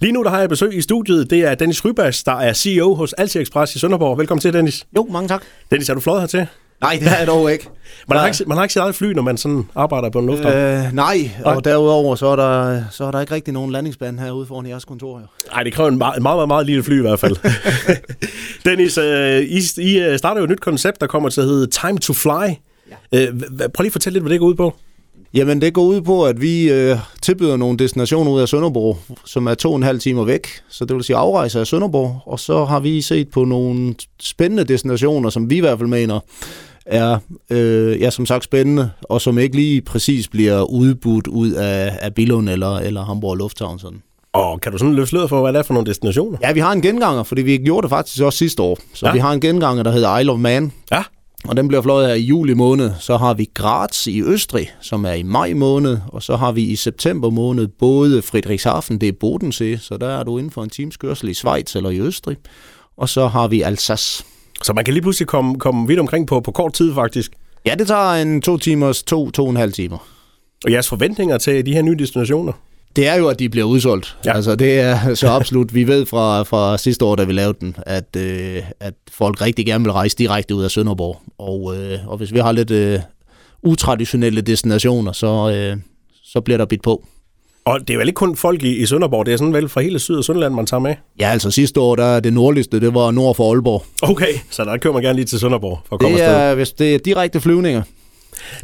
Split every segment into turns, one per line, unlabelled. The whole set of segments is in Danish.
Lige nu der har jeg besøg i studiet. Det er Dennis Rybas, der er CEO hos Alti Express i Sønderborg. Velkommen til, Dennis.
Jo, Uh, mange tak.
Dennis, er du fløjet hertil?
Nej, det er jeg dog ikke.
Man, har
Nej.
ikke, man har ikke sit eget fly, når man sådan arbejder på en lufthavn. Nej,
Øh, nej,
Nej.
og derudover så er, der, så er der ikke rigtig nogen landingsbane herude foran jeres kontor. Jo.
det kræver en meget, meget, meget, meget lille fly i hvert fald. Dennis, øh, I, I øh, starter jo et nyt koncept, der kommer til at hedde Time to Fly. Ja. Øh, hva- hva- prøv lige at fortælle lidt, hvad det går ud på.
Jamen, det går ud på, at vi øh, tilbyder nogle destinationer ud af Sønderborg, som er to og en halv timer væk. Så det vil sige afrejse af Sønderborg. Og så har vi set på nogle spændende destinationer, som vi i hvert fald mener er, øh, ja, som sagt spændende, og som ikke lige præcis bliver udbudt ud af, af Billund eller, eller Hamburg Lufthavn. Sådan.
Og kan du sådan løfte sløret for, hvad det er for nogle destinationer?
Ja, vi har en genganger, fordi vi gjorde det faktisk også sidste år. Så
Ja.
ja. vi har en genganger, der hedder Isle of Man,
Ja.
og den bliver fløjet her i juli måned. Så har vi Graz i Østrig, som er i maj måned, og så har vi i september måned både Frederikshafen, det er Bodensee, så der er du inden for en times kørsel i Schweiz eller i Østrig. Og så har vi Alsace.
Så man kan lige pludselig komme, komme vidt omkring på, på kort tid faktisk.
Ja, det tager en to timers, to, to og en halv timer.
Og jeres forventninger til de her nye destinationer?
Det er jo, at de bliver udsolgt.
Ja.
Ja. Altså, det er så absolut. Vi ved fra, fra sidste år, da vi lavede den, at, øh, at folk rigtig gerne vil rejse direkte ud af Sønderborg. Og, øh, og hvis vi har lidt øh, utraditionelle destinationer, så, øh, så bliver der bidt på.
Og det er vel ikke kun folk i, i Sønderborg, det er sådan vel fra hele Syd- og Sønderland, man tager med?
Ja, altså sidste år, der er det nordligste, det var nord for Aalborg.
Okay, så der kører man gerne lige til Sønderborg for at komme
Det
afsted.
er, hvis det er direkte flyvninger.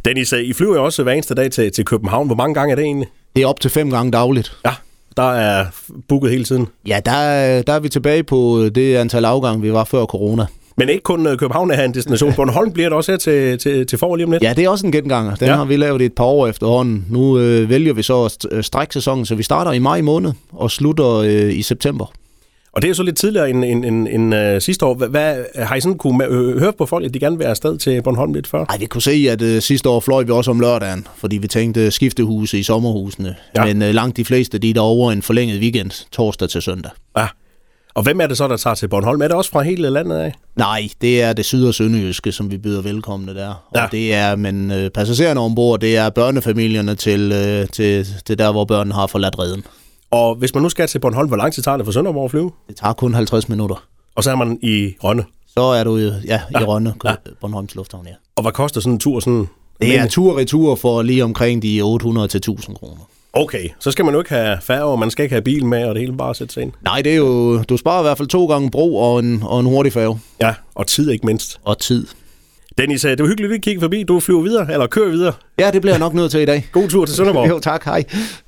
Dennis, øh, I flyver jo også hver eneste dag til, til København. Hvor mange gange er det egentlig?
Det er op til fem gange dagligt.
Ja, der er booket hele tiden.
Ja, der, er- der er vi tilbage på øh, det antal afgange, vi var før corona.
Men ikke kun øh, København er en destination. Bornholm bliver det også her til, til, til forår lige om lidt.
Ja, det er også en genganger. Den
Ja.
ja. har vi lavet i et par år efterhånden. Nu øh, vælger vi så st- øh, stræksæsonen, så vi starter i maj måned og slutter øh, i september.
Og det er jo så lidt tidligere end, end, end, end øh, sidste år. Hva- Hvad, har I sådan kunne ma- øh, høre på folk, at de gerne vil afsted til Bornholm lidt før?
Ej, vi kunne se, at øh, sidste år fløj vi også om lørdagen, fordi vi tænkte øh, skiftehuse i sommerhusene.
Ja.
Ja. Men øh, langt de fleste, de er derovre en forlænget weekend, torsdag til søndag.
Ja. Og hvem er det så, der tager til Bornholm? Er det også fra hele landet af?
Nej, det er det syd- og sønderjyske, som vi byder velkomne der. Og
Ja.
det er, men øh, passagererne ombord, det er børnefamilierne til, øh, til, til der, hvor børnene har forladt reden.
Og hvis man nu skal til Bornholm, hvor lang tid tager det fra Sønderborg at flyve?
Det tager kun 50 minutter.
Og så er man i Rønne.
Så er du øh, ja, i Rønne, ja. Bornholms Lufthavn, ja.
Og hvad koster sådan en tur sådan?
Det er tur og retur for lige omkring de 800 til 1000 kroner.
Okay, så skal man jo ikke have færge, og man skal ikke have bil med, og det hele bare sætte sig ind.
Nej, det er jo, du sparer i hvert fald to gange bro og en, og en hurtig færge.
Ja, og tid ikke mindst.
Og tid.
Dennis, øh, det var hyggeligt, at vi kiggede forbi. Du flyver videre, eller kører videre.
Ja, det bliver jeg nok nødt til i dag.
God tur til Sønderborg.
Jo, tak. Hej.